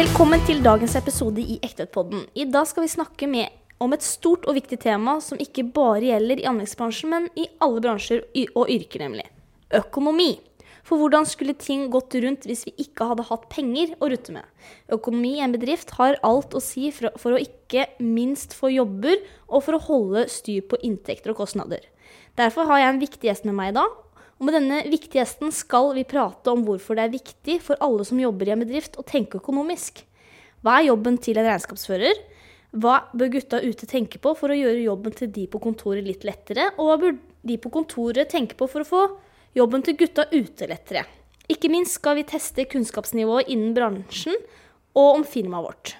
Velkommen til dagens episode i Ektøypodden. I dag skal vi snakke med om et stort og viktig tema som ikke bare gjelder i anleggsbransjen, men i alle bransjer y- og yrker, nemlig. Økonomi. For hvordan skulle ting gått rundt hvis vi ikke hadde hatt penger å rutte med? Økonomi i en bedrift har alt å si for, å- for å ikke minst få jobber, og for å holde styr på inntekter og kostnader. Derfor har jeg en viktig gjest med meg i dag, og med denne viktige gjesten skal vi prate om hvorfor det er viktig for alle som jobber i en bedrift å tenke økonomisk. Hva er jobben til en regnskapsfører? Hva bør gutta ute tenke på for å gjøre jobben til de på kontoret litt lettere? Og hva bør de på kontoret tenke på for å få jobben til gutta ute lettere? Ikke minst skal vi teste kunnskapsnivået innen bransjen og om firmaet vårt.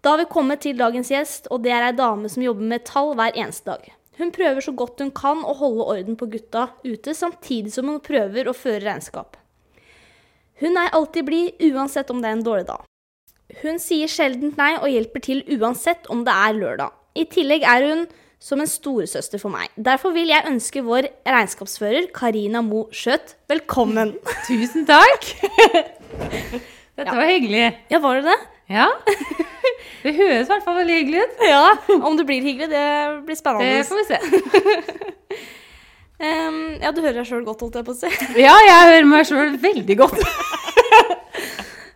Da har vi kommet til dagens gjest, og det er ei dame som jobber med tall hver eneste dag. Hun prøver så godt hun kan å holde orden på gutta ute, samtidig som hun prøver å føre regnskap. Hun er alltid blid, uansett om det er en dårlig dag. Hun sier sjelden nei og hjelper til uansett om det er lørdag. I tillegg er hun som en storesøster for meg. Derfor vil jeg ønske vår regnskapsfører Karina Mo Skjøt velkommen. Tusen takk! Dette var hyggelig. Ja, var det det? Ja. Det høres i hvert fall veldig hyggelig ut. Ja. Om det blir hyggelig, det blir Det spennende. får vi se. Ehm, ja, du hører deg sjøl godt, holdt jeg på å si. Ja, jeg hører meg sjøl veldig godt.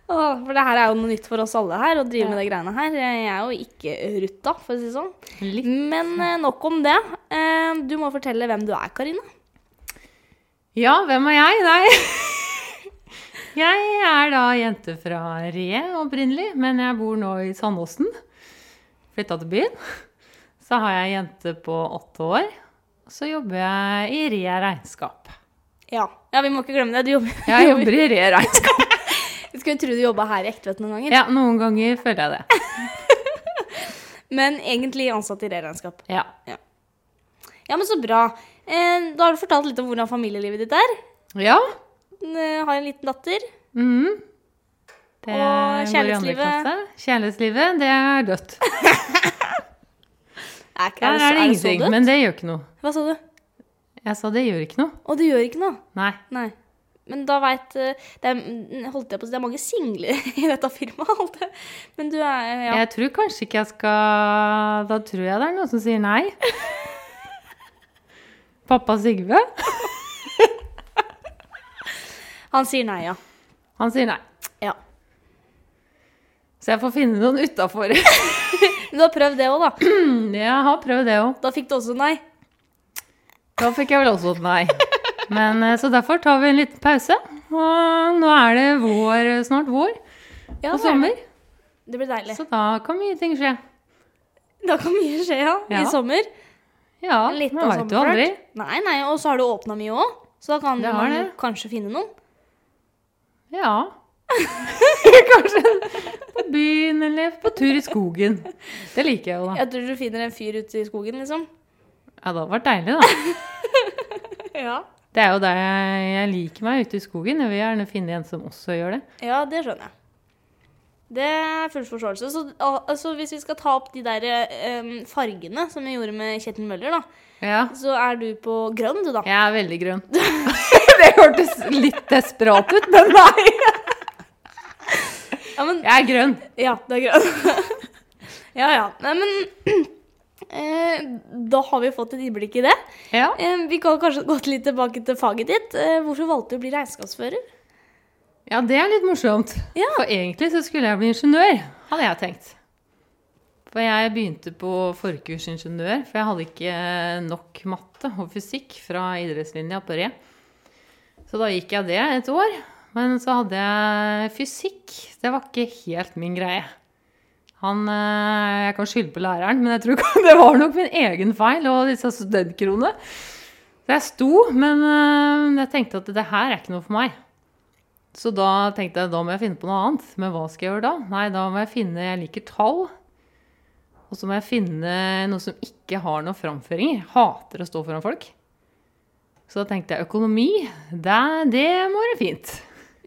Åh, for det her er jo noe nytt for oss alle her, å drive med de greiene her. Jeg er jo ikke rutta, for å si det sånn. Litt. Men eh, nok om det. Eh, Du må fortelle hvem du er, Karina. Ja, hvem er jeg? Nei. Jeg er da jente fra Re opprinnelig, men jeg bor nå i Sandåsen. Flytta til byen. Så har jeg ei jente på åtte år. Så jobber jeg i Re regnskap. Ja. vi må ikke glemme det. Du jobber. Jeg jobber i Re regnskap. Jeg skulle tro du jobba her i Ektvedt noen ganger, Ja, noen ganger føler jeg det. men egentlig ansatt i reregnskap. Ja. Ja, men så bra. Eh, Da har du fortalt litt om hvordan familielivet ditt er. ja. Eh, Har en liten datter. Mhm. Det Mm-hmm. Og går i andre kjærlighetslivet? klasse. Kjærlighetslivet, det er dødt. Er ikke, Der er det, så- er det er det så ingenting, dødt? men det gjør ikke noe. Hva sa du? Jeg sa det gjør ikke noe. Å, du gjør ikke noe? Nei. Nei. Men da veit det, er- mm, holdt jeg på å si, det er mange singler i dette firmaet. holdt jeg. Men du er ja. Jeg tror kanskje ikke jeg skal Da tror jeg det er noen som sier nei. Pappa Sigve, Han sier nei, ja. han sier nei. ja. Så jeg får finne noen utafor. Men du har prøvd det òg, da. Jeg har prøvd det òg. Da fikk du også nei. Da fikk jeg vel også et nei. Men, eh, så derfor tar vi en liten pause. Og nå er det vår, snart vår Ja, og sommer. Det blir deilig. Så da kan mye ting skje. Da kan mye skje, ja. Ja. I sommer. Ja, Litt man av veit jo sommerflørt. aldri. Nei, nei, og så har du åpna mye òg. Så da kan Det har man det. kanskje finne noen. Ja. Kanskje på byen eller på tur i skogen. Det liker jeg jo, da. Jeg tror du finner en fyr ute i skogen, liksom. Ja, det hadde vært deilig, da. Ja, Det er jo der jeg, jeg liker meg ute i skogen. Jeg vil gjerne finne en som også gjør det. ja det skjønner jeg. Det er full forståelse. Så al- altså, hvis vi skal ta opp de der eh, fargene som vi gjorde med Kjetil Møller, da, Ja. så er du på grønn, du, da. Jeg er veldig grønn. Det hørtes litt desperat ut, men nei. Ja, men, Jeg er grønn. ja det er grønn. ja, ja. Nei, men eh, da har vi fått et innblikk i det. Ja. Eh, vi kan kanskje gå litt tilbake til faget ditt. Eh, hvorfor valgte du å bli regnskapsfører? ja, det er litt morsomt. Ja. For egentlig så skulle jeg bli ingeniør, hadde jeg tenkt. For jeg begynte på forkurs ingeniør, for jeg hadde ikke nok matte og fysikk fra idrettslinja på Re. Så da gikk jeg det et år. Men så hadde jeg fysikk. Det var ikke helt min greie. Han, eh, jeg kan skylde på læreren, men jeg tror ikke- det var nok min egen feil og disse studentkronene. Så jeg sto, men eh, jeg tenkte at det her er ikke noe for meg. Så da tenkte jeg da må jeg finne på noe annet. Men hva skal jeg gjøre da? Nei, da må jeg finne Jeg liker tall. Og så må jeg finne noe som ikke har noen framføringer. Jeg hater å stå foran folk. Så da tenkte jeg økonomi, det, det må være fint.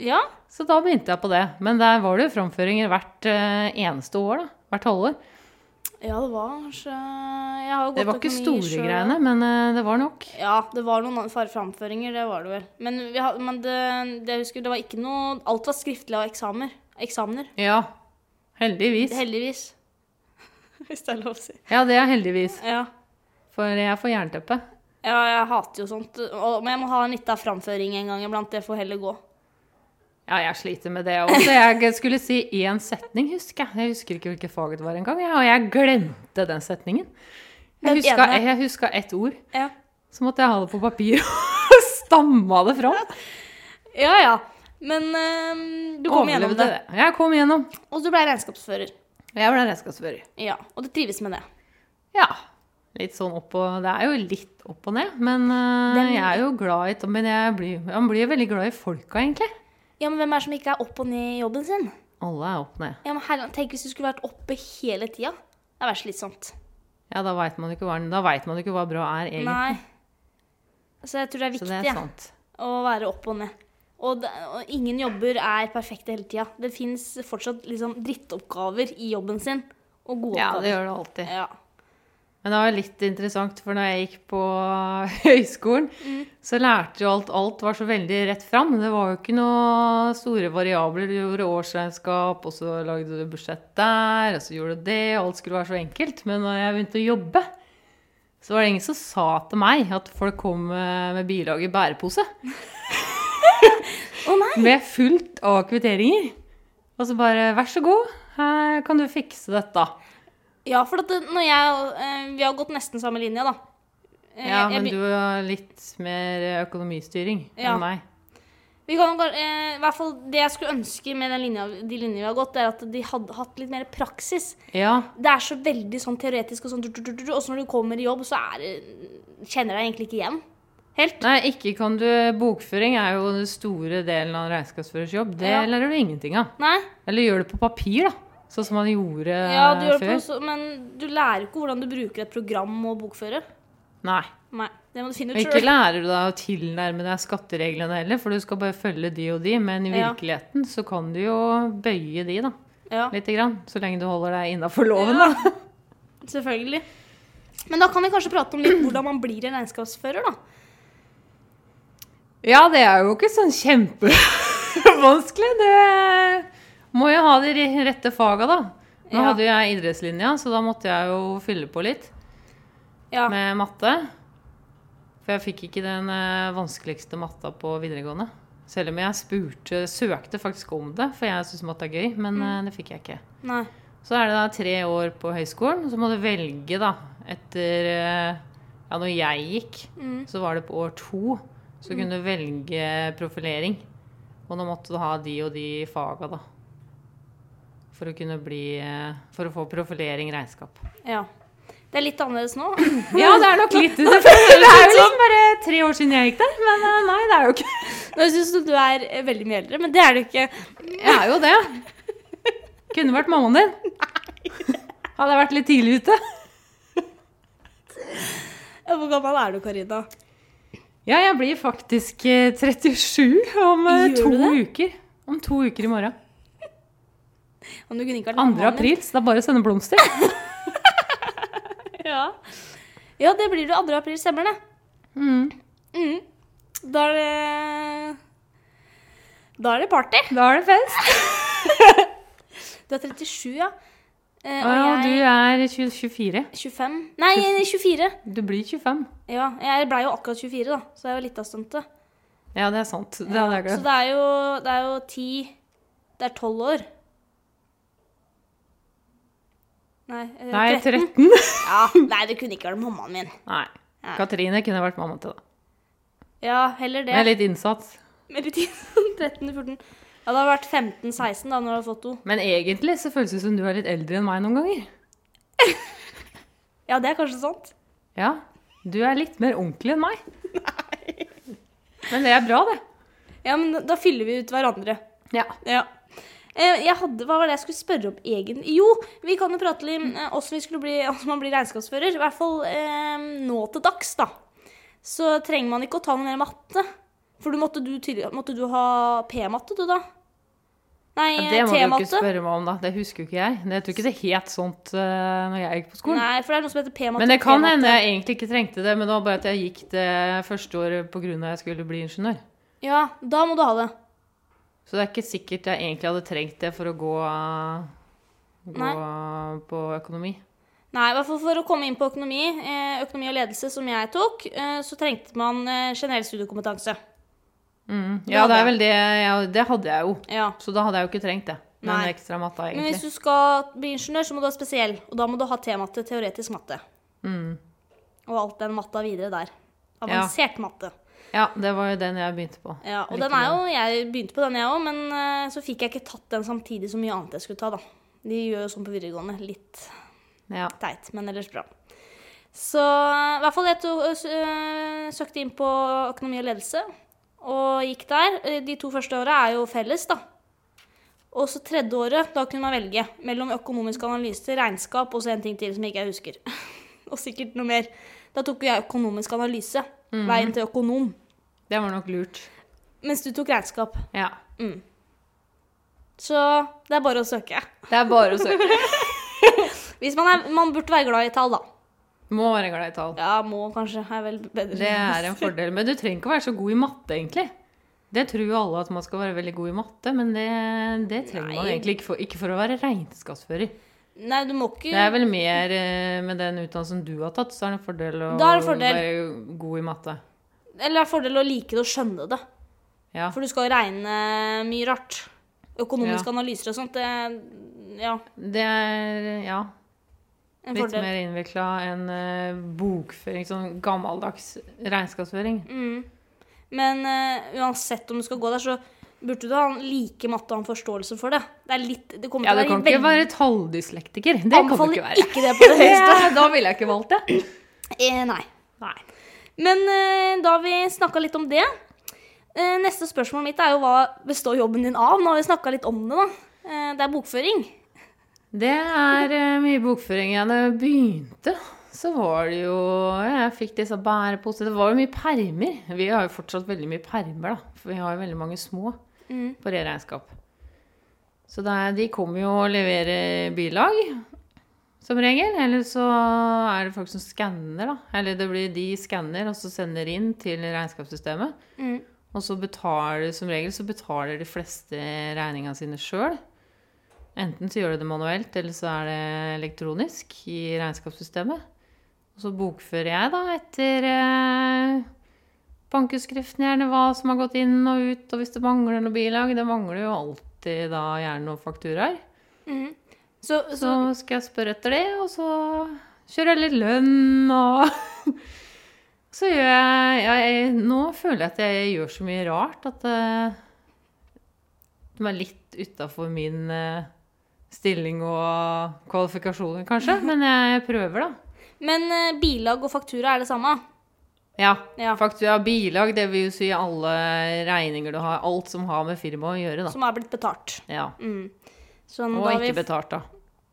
Ja, Så da begynte jeg på det. Men der var det jo framføringer hvert eh, eneste år. da. Hvert halvår. Ja, det var kanskje Jeg har jo Det var gått ikke økonomi store selv. greiene, men eh, det var nok. Ja, det var noen far- framføringer, det var det vel. Men, vi har, men det, det jeg husker, det var ikke noe Alt var skriftlig og eksamener. eksamener. Ja. Heldigvis. Heldigvis. Hvis det er lov å si. Ja, det er heldigvis. Ja. For jeg får jernteppe. ja, jeg hater jo sånt. Og, men jeg må ha en liten framføring en gang iblant. Det får heller gå. Ja, jeg sliter med det også. Jeg skulle si én setning, husker jeg. Jeg husker ikke hvilket fag det var engang, jeg, og jeg glemte den setningen. Den Jeg huska, ene. jeg huska ett ord. Ja. Så måtte jeg ha det på papir og stamma det fram. Ja ja. Men ehm, du kom gjennom Overlevde det. det. Jeg kom igjennom. Og du ble regnskapsfører. Jeg ble regnskapsfører. Ja. Og du trives med det. Ja. Litt sånn opp og Det er jo litt opp og ned, men øh, Den- jeg er jo glad i Men jeg blir, jeg blir veldig glad i folka, egentlig. Ja, men hvem er det som ikke er opp og ned i jobben sin? Alle er opp ned. Ja, men herre, Tenk hvis du skulle vært oppe hele tida. Det hadde vært slitsomt. Ja, da veit man, jo ikke hva- da vet man jo ikke hva bra er, egentlig. Nei. Så jeg tror det er Så viktig det ja, er sant. å være opp og ned. Og, det, og ingen jobber er perfekte hele tida. Det fins fortsatt liksom drittoppgaver i jobben sin. Og gode Ja, det oppgaver. gjør det alltid. Ja. Men det var litt interessant, for når jeg gikk på høyskolen, Mm. så lærte jo alt Alt var så veldig rett fram. Det var jo ikke noe store variabler. Du gjorde årsregnskap, og så lagde du budsjett der, og så gjorde du det. og Alt skulle være så enkelt. Men når jeg begynte å jobbe, så var det ingen som sa til meg at folk kom eh, med bilag i bærepose. Å nei! Med fullt av kvitteringer. Og så bare Vær så god, her kan du fikse dette. Ja, for at det, når jeg eh, Vi har gått nesten samme linje, da. Eh, Ja, jeg men begy- du har litt mer økonomistyring Ja. enn meg. Vi kan, gå- eh, i hvert fall Det jeg skulle ønske med den linja, de linjene vi har gått, er at de hadde hatt litt mer praksis. Ja, Det er så veldig sånn teoretisk, og sånn, du, du, du, du, og så når du kommer i jobb, så er det, kjenner jeg deg egentlig ikke igjen. Helt. Nei, ikke kan du Bokføring er jo den store delen av en regnskapsførers jobb. Det Ja. lærer du ingenting av. Nei. Eller gjør det på papir, da. Sånn som man gjorde Ja, du gjør det på, før. så- men du lærer ikke hvordan du bruker et program og bokfører. Nei. Nei, det må du finne Og ut ikke sjøl. lærer du deg å tilnærme deg skattereglene heller, for du skal bare følge de og de. Men i Ja. virkeligheten så kan du jo bøye de, da. Ja, Lite grann. Så lenge du holder deg innafor loven, da. selvfølgelig. Men da kan vi kanskje prate om litt hvordan man blir en regnskapsfører, da. Ja, det er jo ikke sånn kjempevanskelig. Du må jo ha de rette faga, da. Nå Ja. hadde jo jeg idrettslinja, så da måtte jeg jo fylle på litt. Ja. med matte. For jeg fikk ikke den eh, vanskeligste matta på videregående. Selv om jeg spurte, søkte faktisk om det, for jeg syns matte er gøy. Men Mm. eh, det fikk jeg ikke. Nei. Så er det da tre år på høyskolen, og så må du velge, da, etter eh, Ja, når jeg gikk, Mm. så var det på år to. Så kunne du velge profilering. Og nå måtte du ha de og de faga, da. For å kunne bli eh, For å få profilering regnskap. Ja. Det er litt annerledes nå. Ja, det er nok litt Det er jo liksom bare tre år siden jeg gikk der, men eh, nei, det er jo ikke Nå syns du du er eh, veldig mye eldre, men det er du ikke. Jeg er jo det. Kunne vært mammaen din. Hadde jeg vært litt tidlig ute. Ja, Hvor gammel er du, Karina? Ja, jeg blir faktisk eh, 37 om eh, Gjør to du uker. Om to uker i morgen. Om du kunne ikke vært 2. mammaen min. april, så det er bare å sende blomster. Ja. ja, det blir du 2. april, stemmer det. Mm. Mm. Da er det Da er det party. Da er det fest. Du er 37, ja. Eh, Ja, og du jeg er 20, 24. 25. Nei, 24. Du blir 25. Ja, jeg blei jo akkurat 24, da, så jeg er jo litt av stuntet. Ja, det er sant. Det hadde jeg Så glemt. det er jo, det er jo 10 Det er 12 år. Nei, eh, Nei, 13. 13. Ja, nei, det kunne ikke vært mammaen min. Nei. Nei. Katrine kunne vært mamma til, da. Ja, heller det. Med litt innsats. Med litt tid. 13-14. Ja, det hadde vært 15-16 da, når du hadde fått to. Men egentlig så føles det som du er litt eldre enn meg noen ganger. Ja, det er kanskje sant. Ja, du er litt mer ordentlig enn meg. Men det er bra, det. Ja, men da- da fyller vi ut hverandre. Ja. Ja. Eh, Jeg hadde, Hva var det jeg skulle spørre om egentlig? Jo, vi kan jo prate litt om eh, hvordan, vi skulle bli, hvordan man blir regnskapsfører. I hvert fall eh, nå til dags, da. Så trenger man ikke å ta noe mer matte. For du måtte du, tydelig, måtte du ha P-matte, du, da? Nei, Det må du jo ikke T-matte. spørre meg om, da. Det husker jo ikke jeg. Men Jeg tror ikke det het sånt uh, når jeg gikk på skolen. Nei, for det er noe som heter P-matte. Men det kan P-matte. hende jeg egentlig ikke trengte det, men det var bare at jeg gikk det første året pga. at jeg skulle bli ingeniør. Ja, da må du ha det. Så det er ikke sikkert jeg egentlig hadde trengt det for å gå, gå på økonomi. Nei, i hvert fall for å komme inn på økonomi, eh, økonomi og ledelse, som jeg tok, eh, så trengte man eh, generell studiekompetanse. Mm. Det Ja, det hadde er vel det. Ja, det hadde jeg jo. Ja. Så da hadde jeg jo ikke trengt det. Den Nei. ekstra matta, Men hvis egentlig. du skal bli ingeniør, så må du ha spesiell, og da må du ha temaet til teoretisk matte. Mm. Og alt den matta videre der. Avansert matte. Ja, det var jo den jeg begynte på. Ja, og Eller den ikke er jo, jeg begynte på den jeg òg, men eh, så fikk jeg ikke tatt den samtidig som mye annet jeg skulle ta, da. De gjør jo sånn på videregående. Litt Ja. teit, men ellers bra. Så eh, i hvert fall jeg to, eh, søkte inn på økonomi og ledelse og gikk der. Eh, De to første åra er jo felles, da. Og så tredje året, da kunne man velge mellom økonomisk analyse, regnskap og så en ting til som jeg ikke husker. og sikkert noe mer. Da tok jo jeg økonomisk analyse. Mhm. Veien til økonom. Det var nok lurt. Mens du tok regnskap. Mm. Ja. Så det er bare å søke. Det er bare å søke. Hvis man, er, man burde være glad i tall, da. Må være glad i tall. Ja, må kanskje. Er vel bedre. Det er en fordel. Men du trenger ikke å være så god i matte, egentlig. Det tror jo alle at man skal være veldig god i matte, men det, det trenger man Nei. egentlig ikke for, ikke for å være regnskapsfører. Nei, du må ikke Det er vel mer eh, med den utdannelsen du har tatt, så er det en fordel å Da er det fordel. være god i matte. Eller det er fordel å like det og skjønne det. Ja. For du skal jo regne mye rart. Økonomiske analyser og sånt. Det, ja, Det er ja, en litt fordel. mer innvikla enn eh, bokføring, sånn gammeldags regnskapsføring. Mm. Men eh, uansett om du skal gå der, så burde du ha en like matte og ha en forståelse for det. Det, er litt, det kommer Ja, du til å være kan ikke veldig være talldyslektiker. Det kan du ikke Anbefaler være. ikke det på det høyeste. Ja, da ville jeg ikke valgt det. Eh, nei. Men eh, da har vi snakka litt om det eh, Neste spørsmål mitt er jo hva består jobben din av? Nå har vi snakka litt om det, da. Eh, det er bokføring. Det er eh, mye bokføring. Ja, Da jeg begynte, så var det jo Jeg fikk disse bæreposene. Det var jo mye permer. Vi har jo fortsatt veldig mye permer, da. For vi har jo veldig mange små Mm. på reregnskap. Så det er, de kommer jo og leverer bilag, som regel. Eller så er det folk som skanner, da. Eller det blir de skanner, og så sender inn til regnskapssystemet. Mm. Og så betaler som regel så betaler de fleste regningene sine sjøl. Enten så gjør de det manuelt, eller så er det elektronisk i regnskapssystemet. Og så bokfører jeg da etter eh, bankutskriften gjerne hva som har gått inn og ut, og hvis det mangler noe bilag. Det mangler jo alltid da gjerne noen fakturaer. Mm. Så, så, Så skal jeg spørre etter det, og så kjører jeg litt lønn og Så gjør jeg, ja, jeg Nå føler jeg at jeg gjør så mye rart at eh, de er litt utafor min eh, stilling og kvalifikasjoner, kanskje. Men jeg prøver, da. Men eh, bilag og faktura er det samme? Ja. Ja. Faktura bilag, det vil jo si alle regninger du har. Alt som har med firmaet å gjøre, da. Som er blitt betalt. Ja. Mm. Sånn, Og da har vi- ikke betalt, da.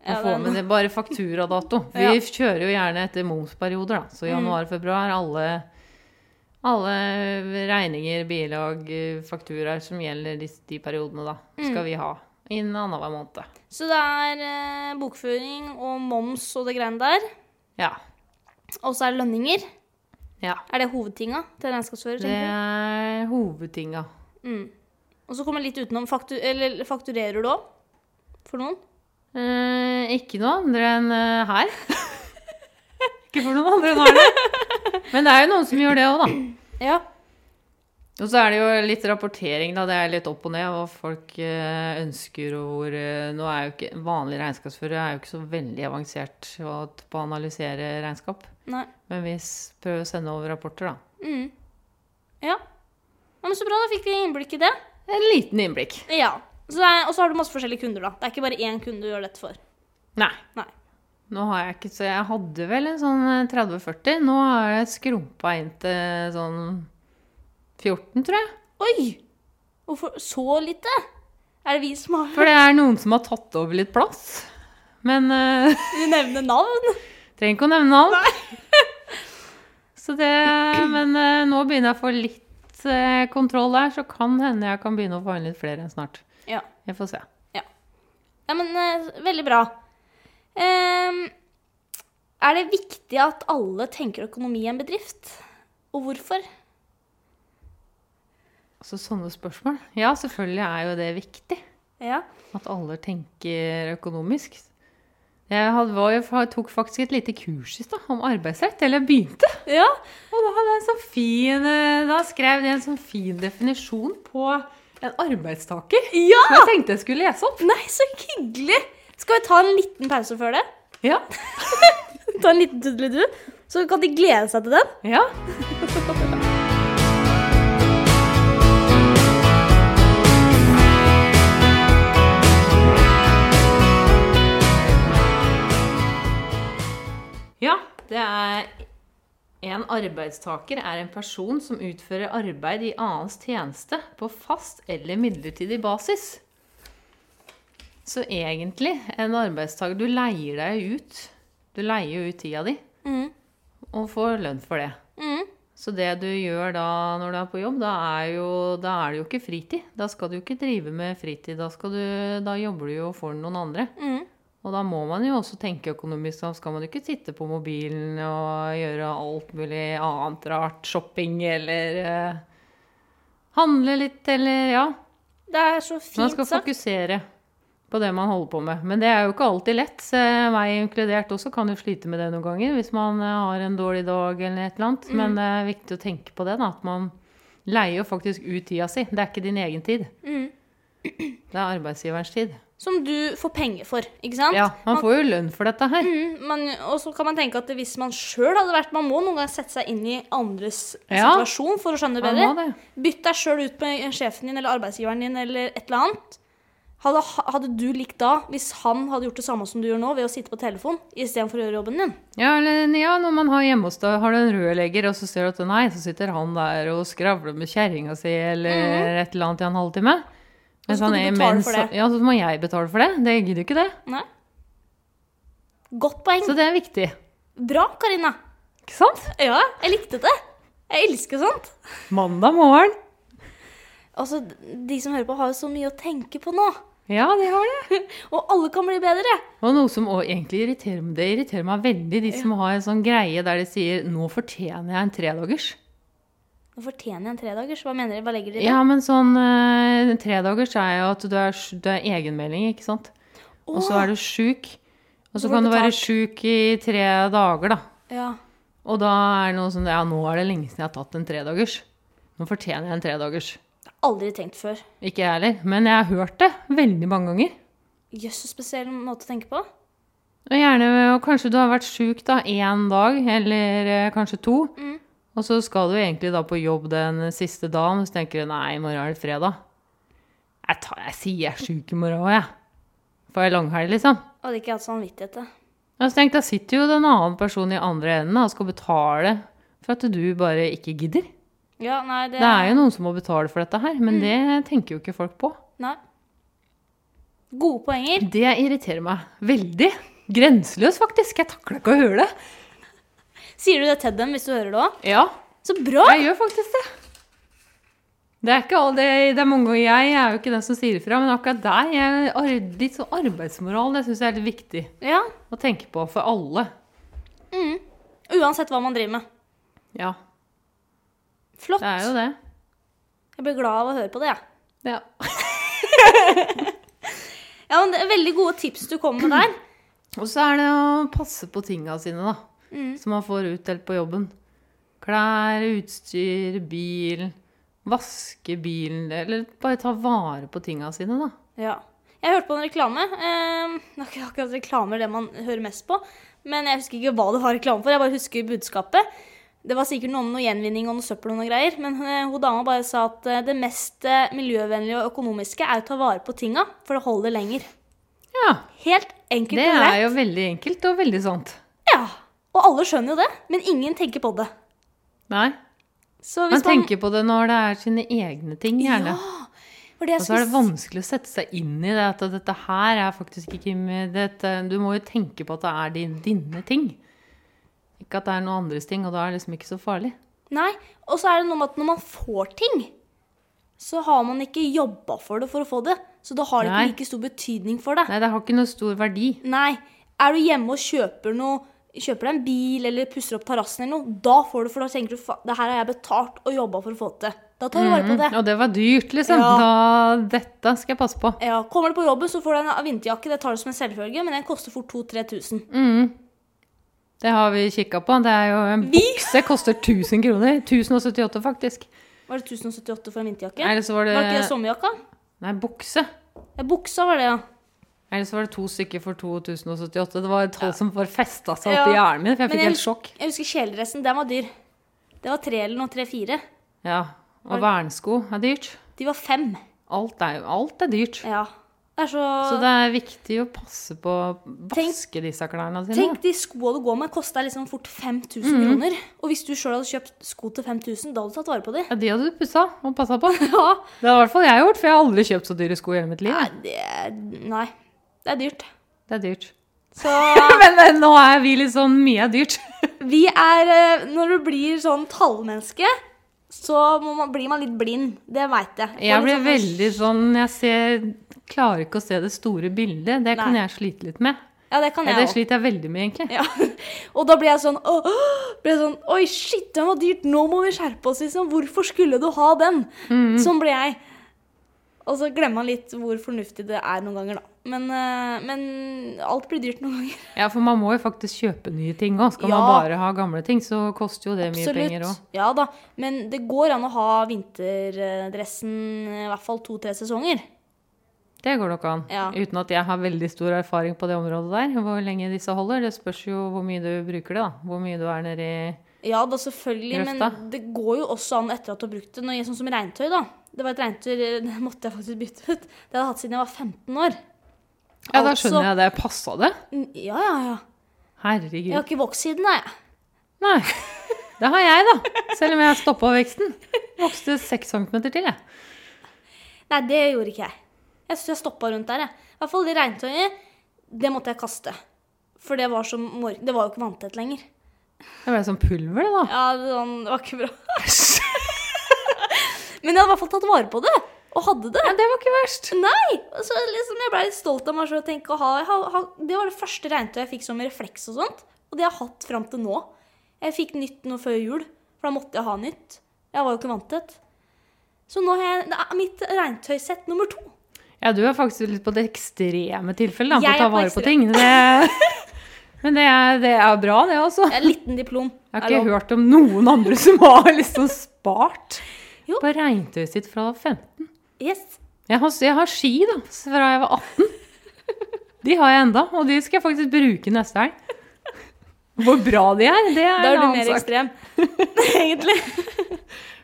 Å Ja, få den- med det bare fakturadato. Vi Ja. Mm. kjører jo gjerne etter momsperioder, da. Så januar, februar, alle, alle regninger, bilag, eh, fakturaer som gjelder de, de periodene, da, Mm. skal vi ha innen annenhver måned. Så det er eh, bokføring og moms og det greiene der. Ja. Og så er det lønninger. ja. Er det hovedtinga til regnskapsfører? tenker Det du? er hovedtinga. Og så kommer litt utenom. Faktu eller fakturerer du òg? For noen? Eh, ikke noe andre enn eh, her. ikke for noen andre enn her. da. Men det er jo noen som gjør det òg, da. Ja. Og så er det jo litt rapportering, da. Det er litt opp og ned hva folk eh, ønsker og hvor eh, Nå er jo ikke Vanlige regnskapsførere er jo ikke så veldig avansert å- på å analysere regnskap. Nei. Men vi s- prøver å sende over rapporter, da. Mm. Ja. ja. Men så bra, da fikk vi innblikk i det. En liten innblikk. Ja. Så det er, og så har du masse forskjellige kunder, da. Det er ikke bare én kunde du gjør dette for. Nei. Nei. Nå har jeg ikke Så jeg hadde vel en sånn eh, 30-40. Nå har jeg skrumpa inn til sånn 14, tror jeg. Oi! Hvorfor så lite? Er det vi som har For det er noen som har tatt over litt plass. Men eh, Vi nevner navn. Trenger ikke å nevne navn. Så det, men eh, nå begynner jeg å få litt eh, kontroll der, så kan hende jeg kan begynne å få inn litt flere enn snart. Ja. Vi får se. ja men eh, veldig bra. Ehm, er det viktig at alle tenker økonomi i en bedrift? Og hvorfor? Så sånne spørsmål. Ja, selvfølgelig er jo det viktig. Ja. At alle tenker økonomisk. Jeg hadde, var, jo- tok faktisk et lite kurs i stad om arbeidsrett. Eller jeg begynte. ja. Og da hadde jeg en sånn fin eh, Da skrev de en sånn fin definisjon på en arbeidstaker. Ja! Som jeg tenkte jeg skulle lese opp. Nei, så hyggelig! Skal vi ta en liten pause før det? Ja. Ta en liten tudelidu, så kan de glede seg til den. ja. Ja, det er En arbeidstaker er en person som utfører arbeid i annens tjeneste på fast eller midlertidig basis. Så egentlig, en arbeidstaker Du leier deg jo ut. Du leier jo ut tida di Mhm. og får lønn for det. Mhm. Så det du gjør da når du er på jobb, da er, jo, da er det jo ikke fritid. Da skal du jo ikke drive med fritid. Da, skal du, da jobber du jo for noen andre. Mhm. Og da må man jo også tenke økonomisk. Da skal man jo ikke sitte på mobilen og gjøre alt mulig annet rart. Shopping eller eh, handle litt eller ja. Det er så Man fint skal sagt. fokusere på det man holder på med. Men det er jo ikke alltid lett. så Meg inkludert også kan jo slite med det noen ganger hvis man eh, har en dårlig dag eller et eller Mm. annet. Men det er viktig å tenke på det, da. At man leier jo faktisk ut tida si. Det er ikke din egen tid. Mhm. Det er arbeidsgiverens tid. Som du får penger for, ikke sant? Ja, man får jo lønn for dette her. Mhm, men- og så kan man tenke at hvis man sjøl hadde vært Man må noen ganger sette seg inn i andres Ja. situasjon for å skjønne det Man bedre. må det. Bytt deg sjøl ut med sjefen din eller arbeidsgiveren din eller et eller annet. Hadde, hadde du likt da hvis han hadde gjort det samme som du gjør nå, ved å sitte på telefon istedenfor å gjøre jobben din? Ja, eller ja, når man har hjemme hos deg, har du en rørlegger, og så ser du at nei, så sitter han der og skravler med kjerringa si eller et eller annet i en halvtime. Mhm. Og så skal du er betale imens- for det. Ja, så må jeg betale for det. Det gidder jo ikke det. Nei. Godt poeng. Så det er viktig. Bra, Karina. Ikke sant? Ja, jeg likte det. Jeg elsker sånt. Mandag morgen. Altså, De som hører på, har jo så mye å tenke på nå. Ja, de har det. Og alle kan bli bedre. Og noe som også egentlig irriterer meg, det irriterer meg veldig, de som har en sånn greie der de sier 'nå fortjener jeg en tredagers'. Nå fortjener jeg en tredagers. Hva mener dere? Hva legger dere i det? Ja, men sånn eh, tredagers er jo at du er, sj- det er egenmelding, ikke sant? Og så Åh. er du sjuk. Og Så så får kan du du være betalt. sjuk i tre dager, da. Ja. Og da er det noe sånn Ja, nå er det lenge siden jeg har tatt en tredagers. Nå fortjener jeg en tredagers. Aldri tenkt før. Ikke jeg heller, men jeg har hørt det veldig mange ganger. Jøss, så spesiell måte å tenke på. Og gjerne, og kanskje du har vært sjuk da én dag, eller eh, kanskje to. Mm. Og så skal du egentlig da på jobb den siste dagen, og så tenker du nei, i morgen er det fredag. Jeg, tar, jeg sier jeg er sjuk i morgen òg, jeg. Får jeg langhelg, liksom. Hadde ikke hatt samvittighet til. Og så tenkte jeg, da sitter jo den annen person i andre enden da, og skal betale for at du bare ikke gidder. Ja, nei, det, Det er jo noen som må betale for dette her, men det tenker jo ikke folk på. Nei. Gode poenger. Det irriterer meg veldig. Grenseløs, faktisk. Jeg takler ikke å høre det. Sier du det til dem hvis du hører det òg? Ja, Så bra! jeg gjør faktisk det. Det er ikke alle, det, det er mange ganger jeg er jo ikke den som sier ifra, men akkurat der jeg, ar- litt sånn arbeidsmoral det syns jeg er litt viktig Ja. å tenke på for alle. Mm. Uansett hva man driver med. Ja, Flott. det er jo det. Jeg blir glad av å høre på det, jeg. Ja. Ja. Ja, men det er veldig gode tips du kom med der. Og så er det å passe på tinga sine, da. Mm. Som man får utdelt på jobben. Klær, utstyr, bil. Vaske bilen, eller bare ta vare på tinga sine, da. Ja. Jeg hørte på en reklame. Eh, det er ikke akkurat reklamer det man hører mest på. Men jeg husker ikke hva det var reklame for. Jeg bare husker budskapet. Det var sikkert noe om noe gjenvinning og noe søppel og noe greier. Men eh, hun dama bare sa at eh, det mest eh, miljøvennlige og økonomiske er å ta vare på tinga, for det holder lenger. Ja. Helt enkelt Det og er greit. jo veldig enkelt og veldig sant. Ja. Og alle skjønner jo det, men ingen tenker på det. Nei. Så Man hvis man, tenker på det når det er sine egne ting, gjerne. for det jeg Og så er det skulle vanskelig å sette seg inn i det at dette her er faktisk ikke med dette. Du må jo tenke på at det er din, dine ting. Ikke at det er noen andres ting, og da er det liksom ikke så farlig. Nei, og så er det noe med at når man får ting, så har man ikke jobba for det for å få det. Så da har det Nei. ikke like stor betydning for deg. Nei, det har ikke noe stor verdi. Nei. Er du hjemme og kjøper noe, kjøper deg en bil eller pusser opp terrassen eller noe, da får du for da tenker du "Fa- det her har jeg betalt og jobba for å få til. Da tar du vare på det. Mm, Og det var dyrt, liksom. Ja. Da, dette skal jeg passe på. Ja, Kommer du på jobben, så får du en vinterjakke. Det tar du som en selvfølge, men den koster fort 2000-3000. Mm. Det har vi kikka på. Det er jo en Vi- bukse koster 1000 kroner. 1078, faktisk. Var det 1078 for en vinterjakke? Eller så var det Var ikke det sommerjakka? Nei, bukse. Ja, buksa var det, ja. Eller så var det to stykker for 2078. Det var et tall som bare festa seg Ja. oppi hjernen min, for jeg Men fikk jeg helt sjokk. Jeg husker kjeledressen. Den var dyr. Det var tre eller noe, tre-fire. Ja. Og vernsko er dyrt. De var fem. Alt er, jo- alt er dyrt. Ja. Det er så, Så det er viktig å passe på å vaske disse klærne sine. Tenk de skoa du går med, kosta liksom fort 5000 Mhm. kroner. Og hvis du sjøl hadde kjøpt sko til 5000, da hadde du tatt vare på de. Ja, de hadde du pussa og passa på. Det Ja. har i hvert fall jeg gjort, for jeg har aldri kjøpt så dyre sko i hele mitt liv. Nei, det, nei. det er dyrt. Det er dyrt. Så Men, men nå er vi litt sånn mye er dyrt. vi er eh, Når du blir sånn tallmenneske, så må man, blir man litt blind. Det veit jeg. Jeg Får blir litt sånn- veldig sånn Jeg ser, klarer ikke å se det store bildet. Det kan Nei. jeg slite litt med. Ja, det kan Ja, jeg det òg. sliter jeg veldig med, egentlig. Ja. Og da blir jeg sånn, åh, åh, blir jeg sånn Oi, shit, den var dyrt! Nå må vi skjerpe oss! Liksom. Hvorfor skulle du ha den? Mhm. Sånn blir jeg. Og så glemmer man litt hvor fornuftig det er noen ganger, da. Men, eh, men alt blir dyrt noen ganger. Ja, For man må jo faktisk kjøpe nye ting òg. Skal Ja. man bare ha gamle ting, så koster jo det mye penger òg. Ja da. Men det går an å ha vinterdressen eh, i hvert fall to-tre sesonger. Det går nok an. Ja. Uten at jeg har veldig stor erfaring på det området der. Hvor lenge disse holder. Det spørs jo hvor mye du bruker det, da. Hvor mye du er nedi Ja da, selvfølgelig, men Grøfta. det går jo også an etter at du har brukt det. Når jeg, sånn som regntøy, da. Det var et regntøy eh, det måtte jeg faktisk bytte ut. Det hadde jeg hatt siden jeg var 15 år. Ja, da Altså- skjønner jeg det. Passa det? N- Ja, ja, ja. Herregud. Jeg har ikke vokst siden, da. jeg. Nei. Det har jeg, da. Selv om jeg stoppa veksten. Vokste seks centimeter til, jeg. Nei, det gjorde ikke jeg. Jeg syns jeg stoppa rundt der. jeg. I hvert fall det regntøyet. Det måtte jeg kaste. For det var, som mor det var jo ikke vanntett lenger. Det ble som pulver, det, da. Ja, det sånn- det var ikke bra. Men jeg hadde i hvert fall tatt vare på det. Og hadde det. Ja, det var ikke verst. Nei! Og så liksom, jeg ble litt stolt av meg selv og tenkte å ha, ha, ha Det var det første regntøyet jeg fikk som refleks og sånt. Og det har jeg hatt fram til nå. Jeg fikk nytt nå før jul, for da måtte jeg ha nytt. Jeg var jo ikke vanntett. Så nå har jeg det er mitt regntøysett nummer to. Ja, du er faktisk litt på det ekstreme tilfellet, da, på Jeg å ta er på vare på ekstrem- ting. Det... Men det er, det er bra, det, altså. Det er en liten diplom. Jeg har Det er ikke lov. hørt om noen andre som har liksom spart Jo. på regntøyet sitt fra 15. Yes. Jeg har, jeg har ski, da, fra jeg var 18. De har jeg enda, og de skal jeg faktisk bruke neste helg. Hvor bra de er, det er Da er en du annen mer sak. ekstrem. Egentlig.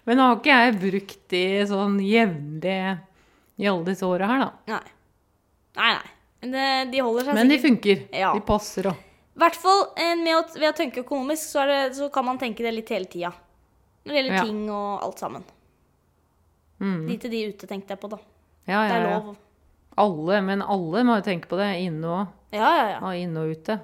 Men nå har ikke jeg brukt de sånn jevnlig i alle disse åra her, da. Nei. Nei, nei. Men det, de holder seg Men de sikkert. funker. Ja. De passer òg. I hvert fall eh, med å, ved å tenke økonomisk, så, er det, så kan man tenke det litt hele tida. Når det gjelder Ja. ting og alt sammen. Mm. De til de ute tenkte jeg på, da. Ja, Det ja, er ja. lov. Alle, men alle må jo tenke på det. Inne og, Ja, ja, ja. og inne og ute.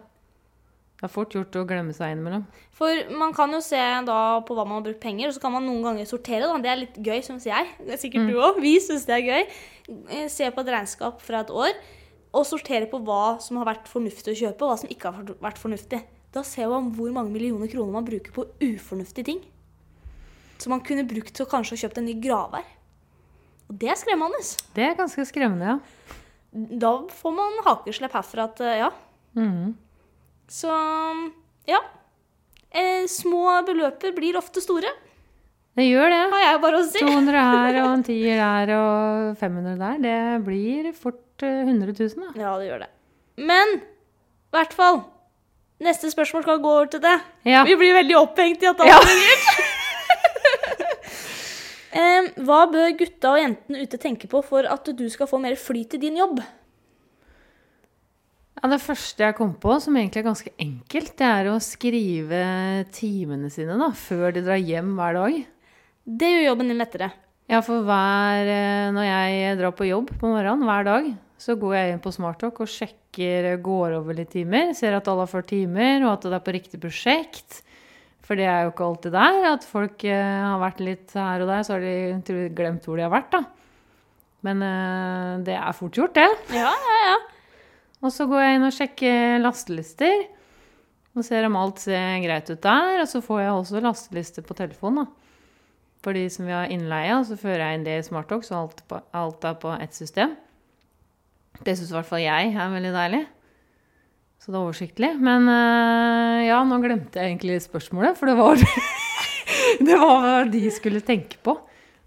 Det er fort gjort å glemme seg innimellom. For man kan jo se da på hva man har brukt penger, og så kan man noen ganger sortere. da. Det er litt gøy, syns jeg. Det er sikkert du òg. Vi syns det er gøy. Eh, Se på et regnskap fra et år, og sortere på hva som har vært fornuftig å kjøpe, og hva som ikke har vært- vært fornuftig. Da ser man hvor mange millioner kroner man bruker på ufornuftige ting. Som man kunne brukt til å kanskje ha kjøpt en ny gravvær. Og det er skremmende. Det er ganske skremmende, ja. Da får man hakeslepp herfra at eh, ja, Mhm. Så ja. Eh, små beløper blir ofte store, Det gjør det. har jeg bare å si. 200 her og en tier der og 500 der. Det blir fort eh, 100 000, da. Ja, det gjør det. Men i hvert fall Neste spørsmål skal gå over til det. Ja. Vi blir veldig opphengt i at alt Ja. blir dyrt. Em, hva bør gutta og jentene ute tenke på for at du skal få mer flyt i din jobb? Ja, det første jeg kom på, som egentlig er ganske enkelt, det er å skrive timene sine da, før de drar hjem hver dag. Det gjør jobben din lettere. Ja, for hver, eh, når jeg drar på jobb på morgenen hver dag, så går jeg inn på Smarttalk og sjekker, eh, går over litt timer, ser at alle har ført timer, og at det er på riktig prosjekt. For det er jo ikke alltid der, at folk eh, har vært litt her og der, så har de tror jeg, glemt hvor de har vært da. Men eh, det er fort gjort det. Ja, ja, ja. Og så går jeg inn og sjekker lastelister. Og ser om alt ser greit ut der. Og så får jeg også lasteliste på telefonen. da. For de som vi har innleie, og så fører jeg inn det i Smarttalk, så alt, på, alt er på ett system. Det syns i hvert fall jeg er veldig deilig. Så det er oversiktlig. Men eh, ja, nå glemte jeg egentlig spørsmålet, for det var Det var hva de skulle tenke på.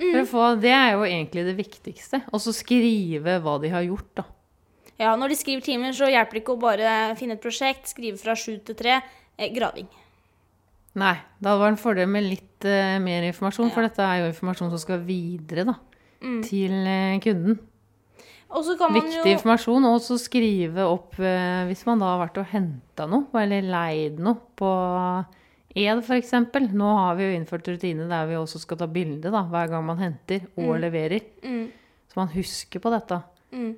For å få, det er jo egentlig det viktigste. Og så skrive hva de har gjort, da. Ja, når de skriver timer, så hjelper det ikke å bare finne et prosjekt, skrive fra sju til tre. Eh, graving. Nei, da var det en fordel med litt eh, mer informasjon, for dette er jo informasjon som skal videre, da. Til eh, kunden. Og så kan Mm. man Viktig jo informasjon. Og så skrive opp eh, hvis man da har vært og henta noe, eller leid noe på Ed f.eks. Nå har vi jo innført rutine der vi også skal ta bilde da, hver gang man henter og leverer. Mm. Så man husker på dette. Mm.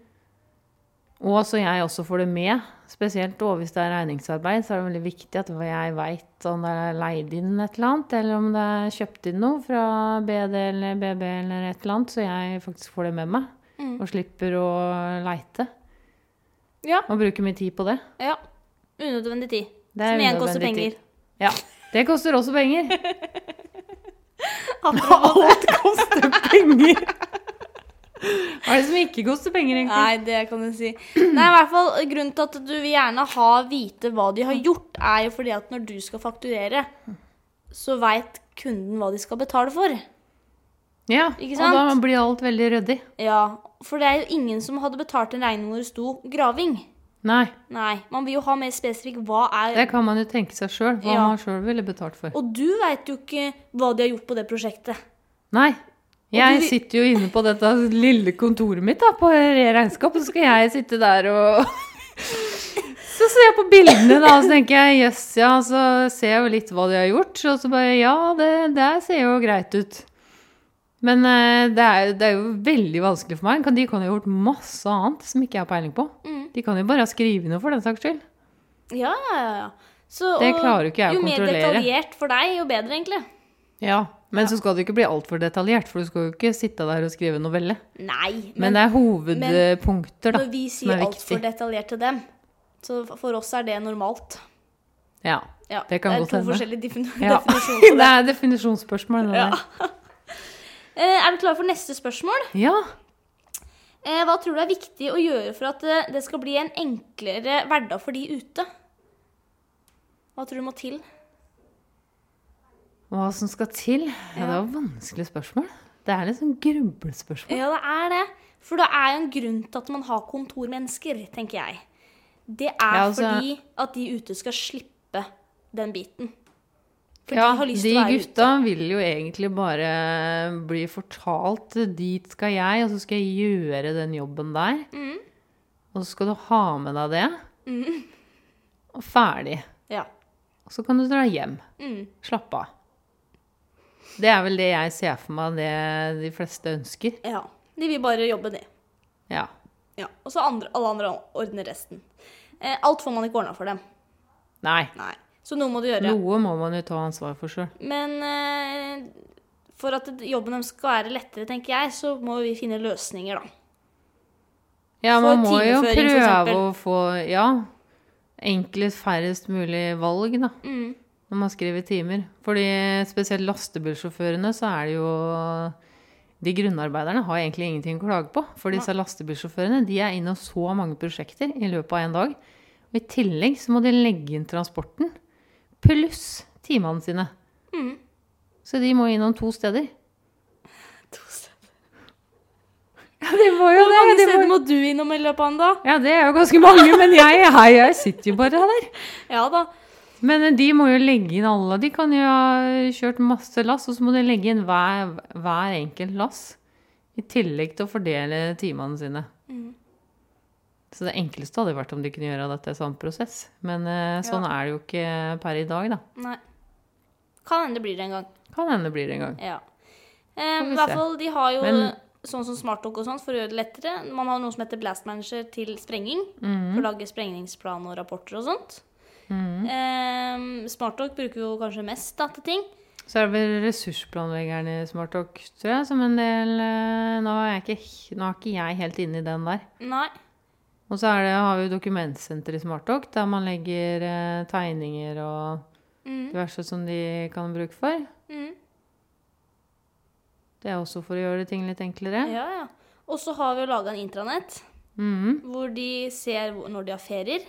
Og så jeg også får det med. Spesielt og hvis det er regningsarbeid, så er det veldig viktig at jeg veit om det er leid inn et eller annet, eller om det er kjøpt inn noe fra BD eller BB eller et eller annet, så jeg faktisk får det med meg. Mm. Og slipper å leite. Ja. Og bruke mye tid på det. ja. Unødvendig tid. Det er Som igjen koster unødvendig penger. tid. Ja. Det koster også penger. Apropos- Alt koster penger. Hva er det som ikke koster penger, egentlig? Nei, det kan du si. Nei, i hvert fall Grunnen til at du vil gjerne ha vite hva de har gjort, er jo fordi at når du skal fakturere, så veit kunden hva de skal betale for. Ja, Ikke og da sant? blir alt veldig ryddig. Ja, For det er jo ingen som hadde betalt en regning hvor det sto 'graving'. Nei. Nei, man vil jo ha mer spesifikk hva er Det kan man jo tenke seg sjøl, hva Ja. man sjøl ville betalt for. Og du veit jo ikke hva de har gjort på det prosjektet. Nei. du Jeg vil- sitter jo inne på dette lille kontoret mitt da, på re- regnskap, og så skal jeg sitte der og Så ser jeg på bildene, da, og så tenker jeg jøss, ja, så ser jeg jo litt hva de har gjort. Og så bare ja, det der ser jo greit ut. Men eh, det er, det er jo veldig vanskelig for meg. Kan- De kan jo ha gjort masse annet som ikke jeg har peiling på. Mm. De kan jo bare ha skrevet noe for den saks skyld. Ja, ja, ja, ja. Så, Det og klarer jo ikke jeg å Jo kontrollere. mer detaljert for deg, jo bedre, egentlig. Ja, Men så skal det ikke bli altfor detaljert, for du skal jo ikke sitte der og skrive novelle. Nei, men, Men, det er hovedpunkter, da. når vi som sier er altfor viktig. detaljert til dem, så for oss er det normalt. Ja. Ja, Det kan er godt to hende. forskjellige defin ja. definisjoner. det er definisjonsspørsmål, det Ja. der. Eh, Er du klar for neste spørsmål? Ja. Eh, Hva tror du er viktig å gjøre for at eh, det skal bli en enklere hverdag for de ute? Hva tror du må til? Hva som skal til? Ja, det er jo vanskelige spørsmål. Det er litt sånn grublespørsmål. Ja, det er det. For det er jo en grunn til at man har kontormennesker, tenker jeg. Det er Ja, altså- fordi at de ute skal slippe den biten. For Ja, de har lyst de til å være gutta vil jo egentlig bare bli fortalt dit skal jeg, og så skal jeg gjøre den jobben der. Mm. Og så skal du ha med deg det. Og ferdig. ute. Ja. Og så kan du dra hjem. Mm. Slappe av. Det er vel det jeg ser for meg det de fleste ønsker. ja. De vil bare jobbe, de. Ja. Ja. Og så andre, alle andre ordner resten. Eh, alt får man ikke ordna for dem. Nei. Nei. Så noe må du gjøre. Noe må man jo ta ansvar for sjøl. Men eh, for at jobben deres skal være lettere, tenker jeg, så må vi finne løsninger, da. Ja, Få man må jo timeføring, for prøve eksempel. å få ja, enklest færrest mulig valg, da, Mm. når man skriver timer. Fordi spesielt lastebilsjåførene, så er det jo De grunnarbeiderne har egentlig ingenting å klage på. For disse lastebilsjåførene de er innom så mange prosjekter i løpet av en dag. Og i tillegg så må de legge inn transporten pluss timene sine. Mm. Så de må innom to steder. To steder. Ja, de må jo Hvor mange de må- steder må du innom i løpet av en dag? Ja, det er jo ganske mange, men jeg, jeg, jeg sitter jo bare der. Ja da. Men eh, de må jo legge inn alle. De kan jo ha kjørt masse lass, og så må de legge inn hver, hver enkelt lass. I tillegg til å fordele timene sine. Så det enkleste hadde jo vært om de kunne gjøre dette i samme prosess. Men eh, sånn er det jo ikke per i dag, da. Nei. Kan hende det blir det en gang. Kan hende det blir det en gang. Ja. Eh, vi I hvert se. fall, de har jo Men- sånn som smarttalk og sånt for å gjøre det lettere. Man har noe som heter blast manager til sprenging. Mhm. For å lage sprengningsplan og rapporter og sånt. Eh, smarttalk bruker vi jo kanskje mest da, til ting. Så er det vel ressursplanleggeren i Smarttalk, tror jeg, som en del eh, Nå er, jeg ikke, nå er ikke jeg helt inne i den der. Nei. Og så er det, har vi jo dokumentsenter i Smartdoc, der man legger eh, tegninger og Mm. diverse som de kan bruke for. Mm. Det er også for å gjøre ting litt enklere. Ja, ja. Og så har vi jo laga en intranett Mhm, hvor de ser hvor- når de har ferier.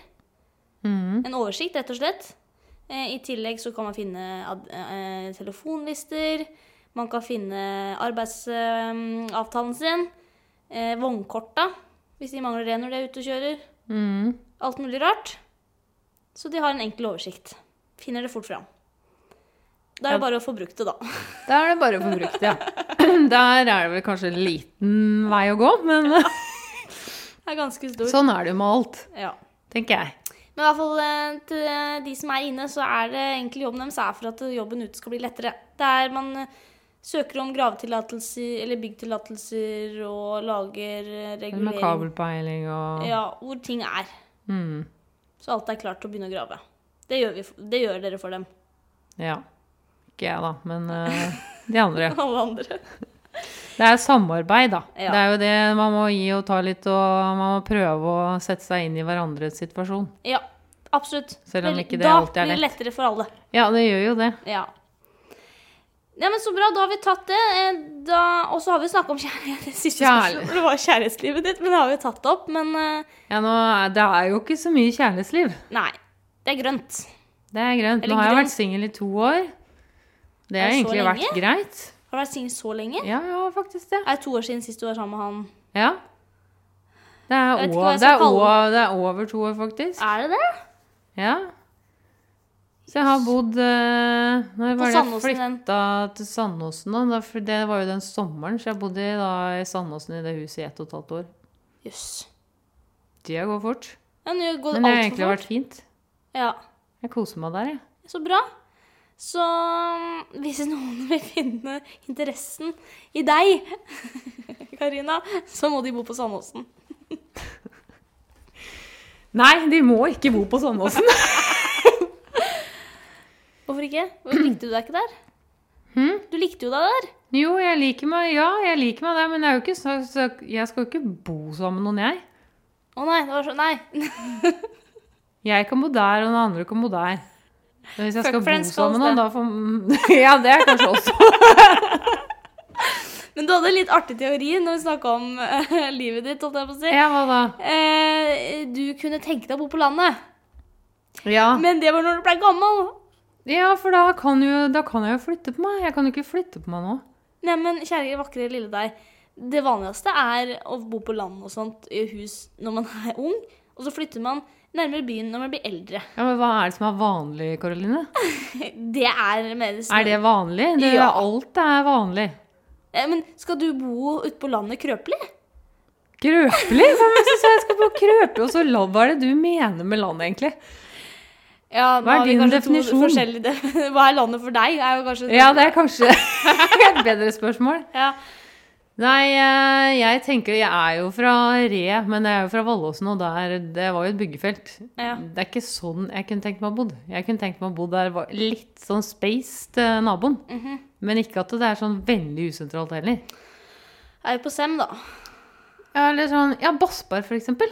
mhm. En oversikt, rett og slett. Eh, I tillegg så kan man finne ad eh, telefonlister. Man kan finne arbeidsavtalen sin. Eh, vognkorta, hvis de mangler det når de er ute og kjører. Mhm. Alt mulig rart. Så de har en enkel oversikt. Finner det fort fram. Da er det bare å få brukt det, da. Da er det bare å få brukt det, ja. Der er det vel kanskje en liten vei å gå, men Det er ganske stort. sånn er det jo med alt, Ja. tenker jeg. Men i hvert fall eh, til eh, de som er inne, så er det egentlig jobben deres er for at eh, jobben ute skal bli lettere. Der man eh, søker om gravetillatelser eller byggtillatelser og lager eh, Det Med regulering. kabelpeiling og Ja, hvor ting er. Mhm, Så alt er klart til å begynne å grave. Det gjør, vi, f- det gjør dere for dem. Ja. Ikke jeg, da, men eh, de andre. Alle andre. Det er samarbeid, da. Ja. Det er jo det man må gi og ta litt, og man må prøve å sette seg inn i hverandres situasjon. Ja, absolutt. Selv om Vel, ikke det da alltid er blir det lettere for alle. Ja, det gjør jo det. Ja. Nei, men Så bra, da har vi tatt det. Eh, da- Og så har vi snakka om kjærlighet. Det siste Kjærlighet. spørsmålet var kjærlighetslivet ditt, men det har vi tatt opp. Men eh, Ja, nå, er- det er jo ikke så mye kjærlighetsliv. Nei. Det er grønt. Det er grønt. Eller Nå har jeg grønt. vært singel i to år. Det har Er det så egentlig vært lenge? greit. Har du vært singel så lenge? Ja, ja, faktisk det. Er det to år siden sist du var sammen med han? Ja. Det er, Jeg vet ikke over, hva jeg det, skal er kalle over, det er over to år, faktisk. Er det det? Ja. Så jeg har bodd eh, Når På var det jeg Sandåsen, den. flytta til Sandåsen? Da? Da- for Det var jo den sommeren, så jeg bodde i- da, i Sandåsen i det huset i ett og et halvt år. Jøss. Tida går fort. Ja, nå går Men det det har altfor egentlig fort. vært fint. Ja. Jeg koser meg der, jeg. Så bra. Så mm, hvis noen vil finne interessen i deg, Karina, så må de bo på Sandåsen. Nei, de må ikke bo på Sandåsen. Hvorfor ikke? Hvorfor likte du deg ikke der? Hm? Du likte jo deg der. jo, jeg liker meg ja, jeg liker meg der, men jeg, er jo ikke, så, så, jeg skal jo ikke bo sammen med noen, jeg. Å nei, det var så Nei. Jeg kan bo der, og den andre kan bo der. Men hvis jeg Fuck skal bo friends, sammen med kalles noen, da får Ja, det er kanskje også Men du hadde en litt artig teori når vi snakka om eh, livet ditt, holdt jeg på å si. Ja, hva da? Eh, du kunne tenke deg å bo på landet, Ja. men det var når du ble gammel. Ja, for da kan, jo, da kan jeg jo flytte på meg. Jeg kan jo ikke flytte på meg nå. Neimen, kjære vakre lille deg. Det vanligste er å bo på land og sånt, i hus, når man er ung. Og så flytter man nærmere byen når man blir eldre. Ja, Men hva er det som er vanlig, Karoline? Det er mer sånn- Er det vanlig? Det, Ja. Alt er vanlig. Eh, Men skal du bo ute på landet krøpelig? Krøpelig? Hvem syns jeg skal bo krøpelig? Og så land? Hva er det du mener med land, egentlig? Ja, Hva er din definisjon? Hva er landet for deg? Er jo kanskje Ja, det er kanskje et bedre spørsmål. Ja. Nei, eh, jeg tenker Jeg er jo fra Re, men jeg er jo fra Vallåsen, og der, det var jo et byggefelt. Ja. Det er ikke sånn jeg kunne tenkt meg å bo. Jeg kunne tenkt meg å bo der var litt sånn space til naboen. mhm. Men ikke at det er sånn veldig usentralt heller. Er jo på Sem, da. Ja, eller sånn, ja, Bassberg, for eksempel.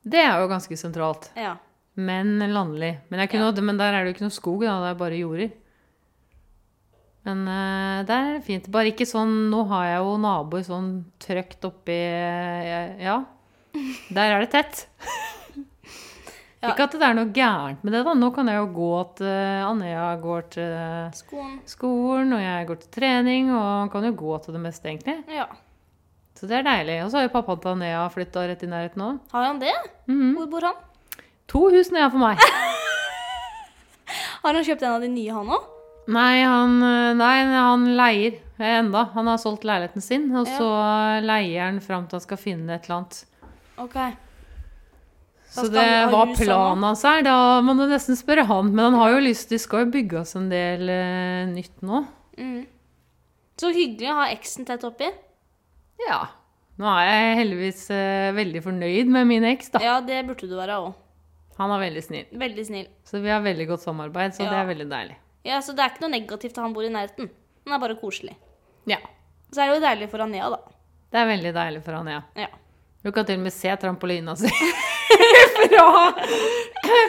Det er jo ganske sentralt. Ja. Men landlig. Men, jeg kunne, men der er det jo ikke noe skog, da. Det er bare jorder. Men eh, der er det fint. Bare ikke sånn Nå har jeg jo naboer sånn trøkt oppi eh, Ja. Der er det tett. Ja. Ikke at det er noe gærent med det, da. Nå kan jeg jo gå til Andøya, går til Skoen skolen, og jeg går til trening, og kan jo gå til det meste, egentlig. Ja. Så det er deilig. Og så har jo pappaen til Andøya flytta rett i nærheten òg. Har han det? Mhm. Hvor bor han? To hus nede for meg. Har han kjøpt en av de nye, han òg? Nei, han, eh, nei, han leier eh, enda. Han har solgt leiligheten sin, og Ja. så leier han fram til han skal finne et eller annet. Ok. Så skal det han ha var hus, han planen hans her. Da må du nesten spørre han. Men han har jo lyst, de skal jo bygge oss en del eh, nytt nå. Mm. Så hyggelig å ha eksen tett oppi. Ja. Nå er jeg heldigvis eh, veldig fornøyd med min eks, da. Ja, det burde du være òg. Han er veldig snill. Veldig snill. Så vi har veldig godt samarbeid, så det Ja. er veldig deilig. Ja, Så det er ikke noe negativt at han bor i nærheten. Han er bare koselig. Ja. Så er det jo deilig for Anea, da. Det er veldig deilig for han, ja. Ja. Du kan til og med se trampolina si fra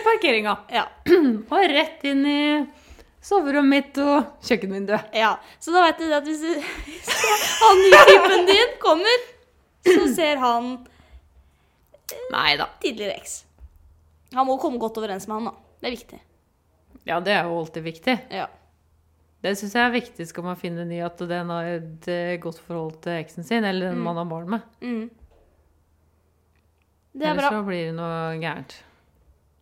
parkeringa. ja. Og rett inn i soverommet mitt og kjøkkenvinduet. Ja, Så da veit du det at hvis, du- hvis han nye typen din kommer, så ser han Nei da. tidligere eks. Han må komme godt overens med han, da. Det er viktig. Ja, det er jo alltid viktig. Ja. Det syns jeg er viktig skal man finne ny at den har et eh, godt forhold til eksen sin, eller den man har barn med. Mm. Det er Ellers bra. så blir det noe gærent.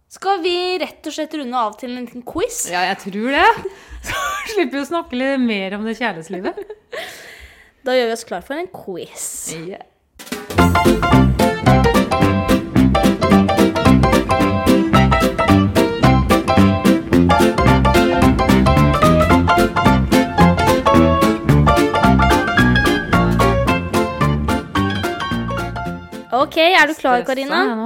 Skal vi rett og slett runde av til en liten quiz? Ja, jeg tror det. Så slipper vi å snakke litt mer om det kjærlighetslivet. Da gjør vi oss klar for en quiz. Yeah. Ok, er du klar, Karina? Stressa sånn jeg nå.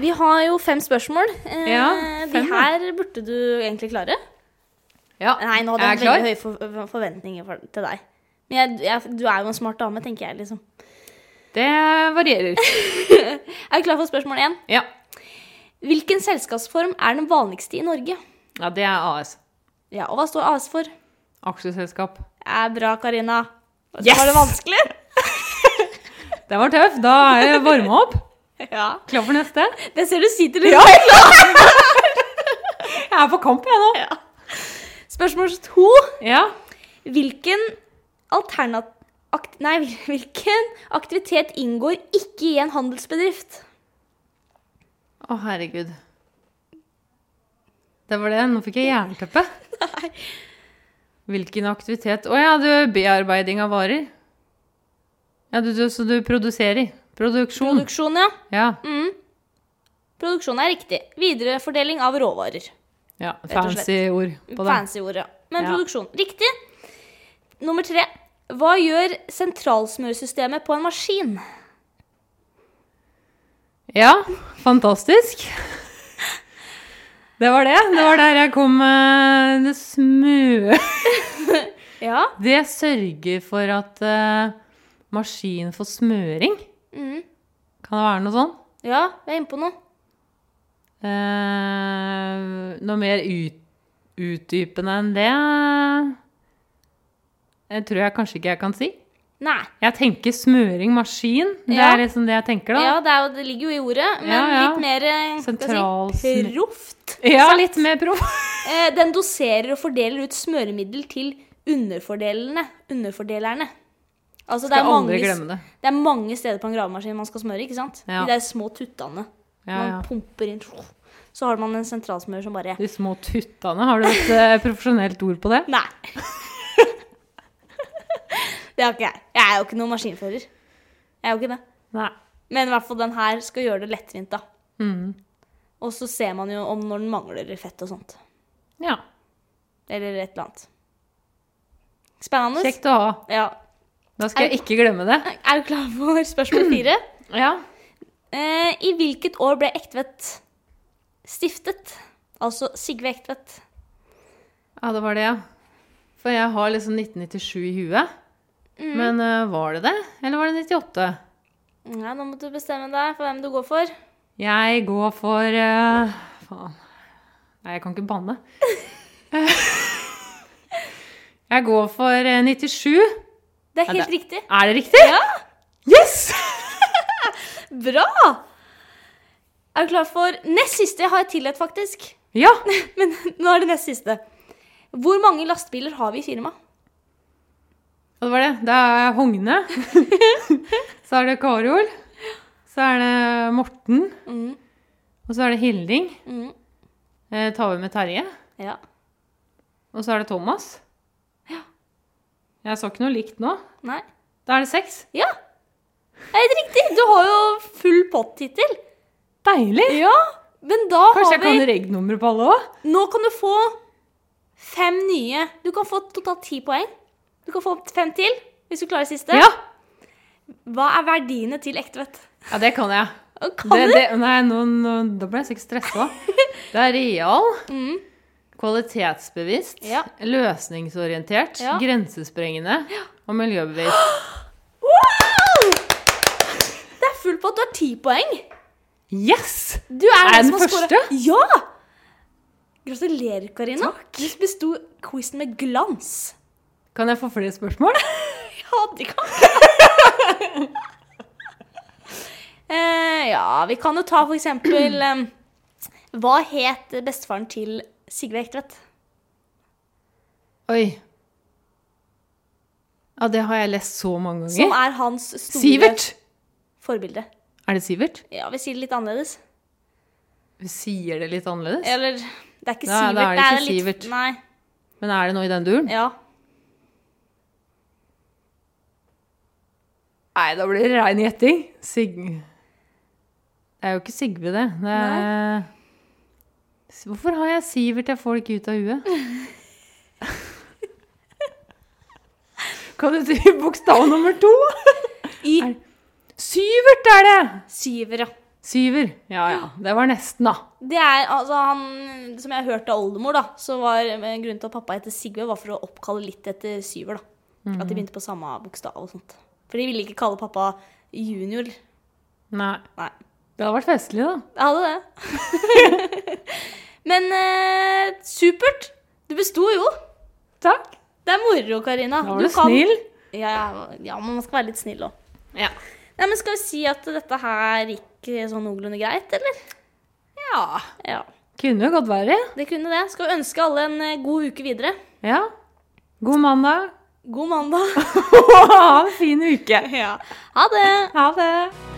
Vi har jo fem spørsmål. Eh, Ja, de fem, ja. her burde du egentlig klare. Ja, Nei, nå hadde er jeg jeg klar? veldig høye for forventninger for, til deg. Men jeg, jeg, du er jo en smart dame, tenker jeg, liksom. Det varierer. Er du klar for spørsmål én? Ja. Hvilken selskapsform er den vanligste i Norge? ja, det er AS. Ja, Og hva står AS for? Aksjeselskap. Er bra, Karina. Yes! Var det vanskelig? Den var tøff. Da er det varma opp. Ja. Klar for neste? Det ser du sitter i. Jeg er på kamp, jeg nå. Spørsmål to. Ja. Hvilken alternat... Akt, nei, hvilken aktivitet inngår ikke i en handelsbedrift? Å, herregud. Det var det. Nå fikk jeg jernteppe. Hvilken aktivitet Å ja, du bearbeiding av varer. Ja, du, du, så du produserer. Produksjon. Produksjon, ja. Ja. Mm. Produksjon er riktig. Viderefordeling av råvarer. ja. og slett. Fancy ord på det. Fancy ord, ja. Men Ja. produksjon. Riktig. Nummer tre. Hva gjør sentralsmørsystemet på en maskin? Ja, fantastisk. Det var det. Det var der jeg kom med det smø... Ja. Det sørger for at eh, maskin får smøring. Mm. Kan det være noe sånn? Ja, jeg er inne på noe. Eh, noe mer ut, utdypende enn det eh, Jeg tror jeg kanskje ikke jeg kan si. Nei. Jeg tenker smøring, maskin. Det Ja. er liksom det jeg tenker, da. Ja, det, er jo, det ligger jo i ordet, men Ja, ja. litt mer eh, skal jeg si, Sentralsmør- proft. Ja, litt mer proff. Eh, Den doserer og fordeler ut smøremiddel til underfordelene. Underfordelerne. Altså, det, er Skal mange, aldri glemme det. det er mange steder på en gravemaskin man skal smøre, ikke sant? Ja. De der små tuttene. Ja, man ja. pumper inn Så har man en sentralsmør som bare De små tuttene. Har du et eh, profesjonelt ord på det? Nei. det har ikke jeg. Jeg er jo ikke noen maskinfører. Jeg er jo ikke det. Nei. Men i hvert fall den her skal gjøre det lettvint, da. Mhm. Og så ser man jo om når den mangler fett og sånt. Ja. Eller et eller annet. Spennende. Kjekt å ha. Ja. Da skal jeg ikke glemme det. Er du klar for spørsmål fire? Ja. Eh, I hvilket år ble Ektvedt stiftet? Altså Sigve Ektvedt. ja, det var det, ja. For jeg har liksom 1997 i huet. Mm. Men eh, var det det? Eller var det 98? Ja, nå må du bestemme deg for hvem du går for. Jeg går for eh, Faen. Nei, jeg kan ikke banne. Eh, jeg går for eh, 97. Det er Ja, helt riktig. Er det riktig? Ja. Yes! Bra! Er du klar for nest siste? Jeg har et til et, faktisk. Ja. Men nå er det nest siste. Hvor mange lastebiler har vi i firmaet? Og det var det. Det er Hogne. så er det Karol. Så er det Morten. Mm. Og så er det Hilding. Mm. Eh, tar vi med Terje. Ja. Og så er det Thomas. Ja. Jeg så ikke noe likt nå. Nei. Da er det seks. Ja. Det er helt riktig. Du har jo full pott hittil. Deilig! Ja. Men da Kanskje jeg har vi kan reg-nummeret på alle òg? Nå kan du få fem nye. Du kan få totalt ti poeng. Du kan få fem til hvis du klarer siste. Ja. Hva er verdiene til ektevett? ja, det kan jeg. Kan Det, du? det, nei, nå, nå, da ble jeg sikkert stressa. Det er real, Mm. kvalitetsbevisst, Ja. løsningsorientert, Ja. grensesprengende og miljøbevisst. Wow! Det er full pott. Du har ti poeng. Yes! Du er, Er jeg den som den har scoret- første? Ja! Gratulerer, Karina. Du besto quizen med glans. Kan jeg få flere spørsmål? Ja, det kan eh, Ja, vi kan jo ta for eksempel eh, Hva het bestefaren til Sigve Ektvedt? Oi. Ja, det har jeg lest så mange ganger. Som er hans store Sivert! forbilde. Er det Sivert? Ja, vi sier det litt annerledes. Vi sier det litt annerledes. Eller Det er ikke Nei, Sivert. da er det ikke litt, Sivert. Nei. Men er det noe i den duren? Ja. Nei, da blir det rein gjetting. Sig... Det er jo ikke Sigve, det. det er... Hvorfor har jeg Sivert? Jeg får det ikke ut av huet. kan du si bokstav nummer to? I Er- Syvert er det! Syver, ja. Syver. Ja, ja. Det var nesten, da. Det er altså han Som jeg har hørt av oldemor, da, så var eh, grunnen til at pappa heter Sigve, var for å oppkalle litt etter Syver, da. At Mhm. de begynte på samme bokstav og sånt. For de ville ikke kalle pappa junior. Nei. Nei. Det hadde vært festlig, da. Jeg hadde det. Men eh, supert. Du besto jo. Takk. Det er moro, Karina. Da var du snill. Ja, ja, ja, men man skal være litt snill òg. Ja. Nei, men skal vi si at dette her gikk eh, sånn noenlunde greit, eller? ja. Ja. Kunne jo godt være. Det kunne det. Skal vi ønske alle en eh, god uke videre. Ja. God mandag. God mandag. Ha en fin uke. Ha det! Ha det.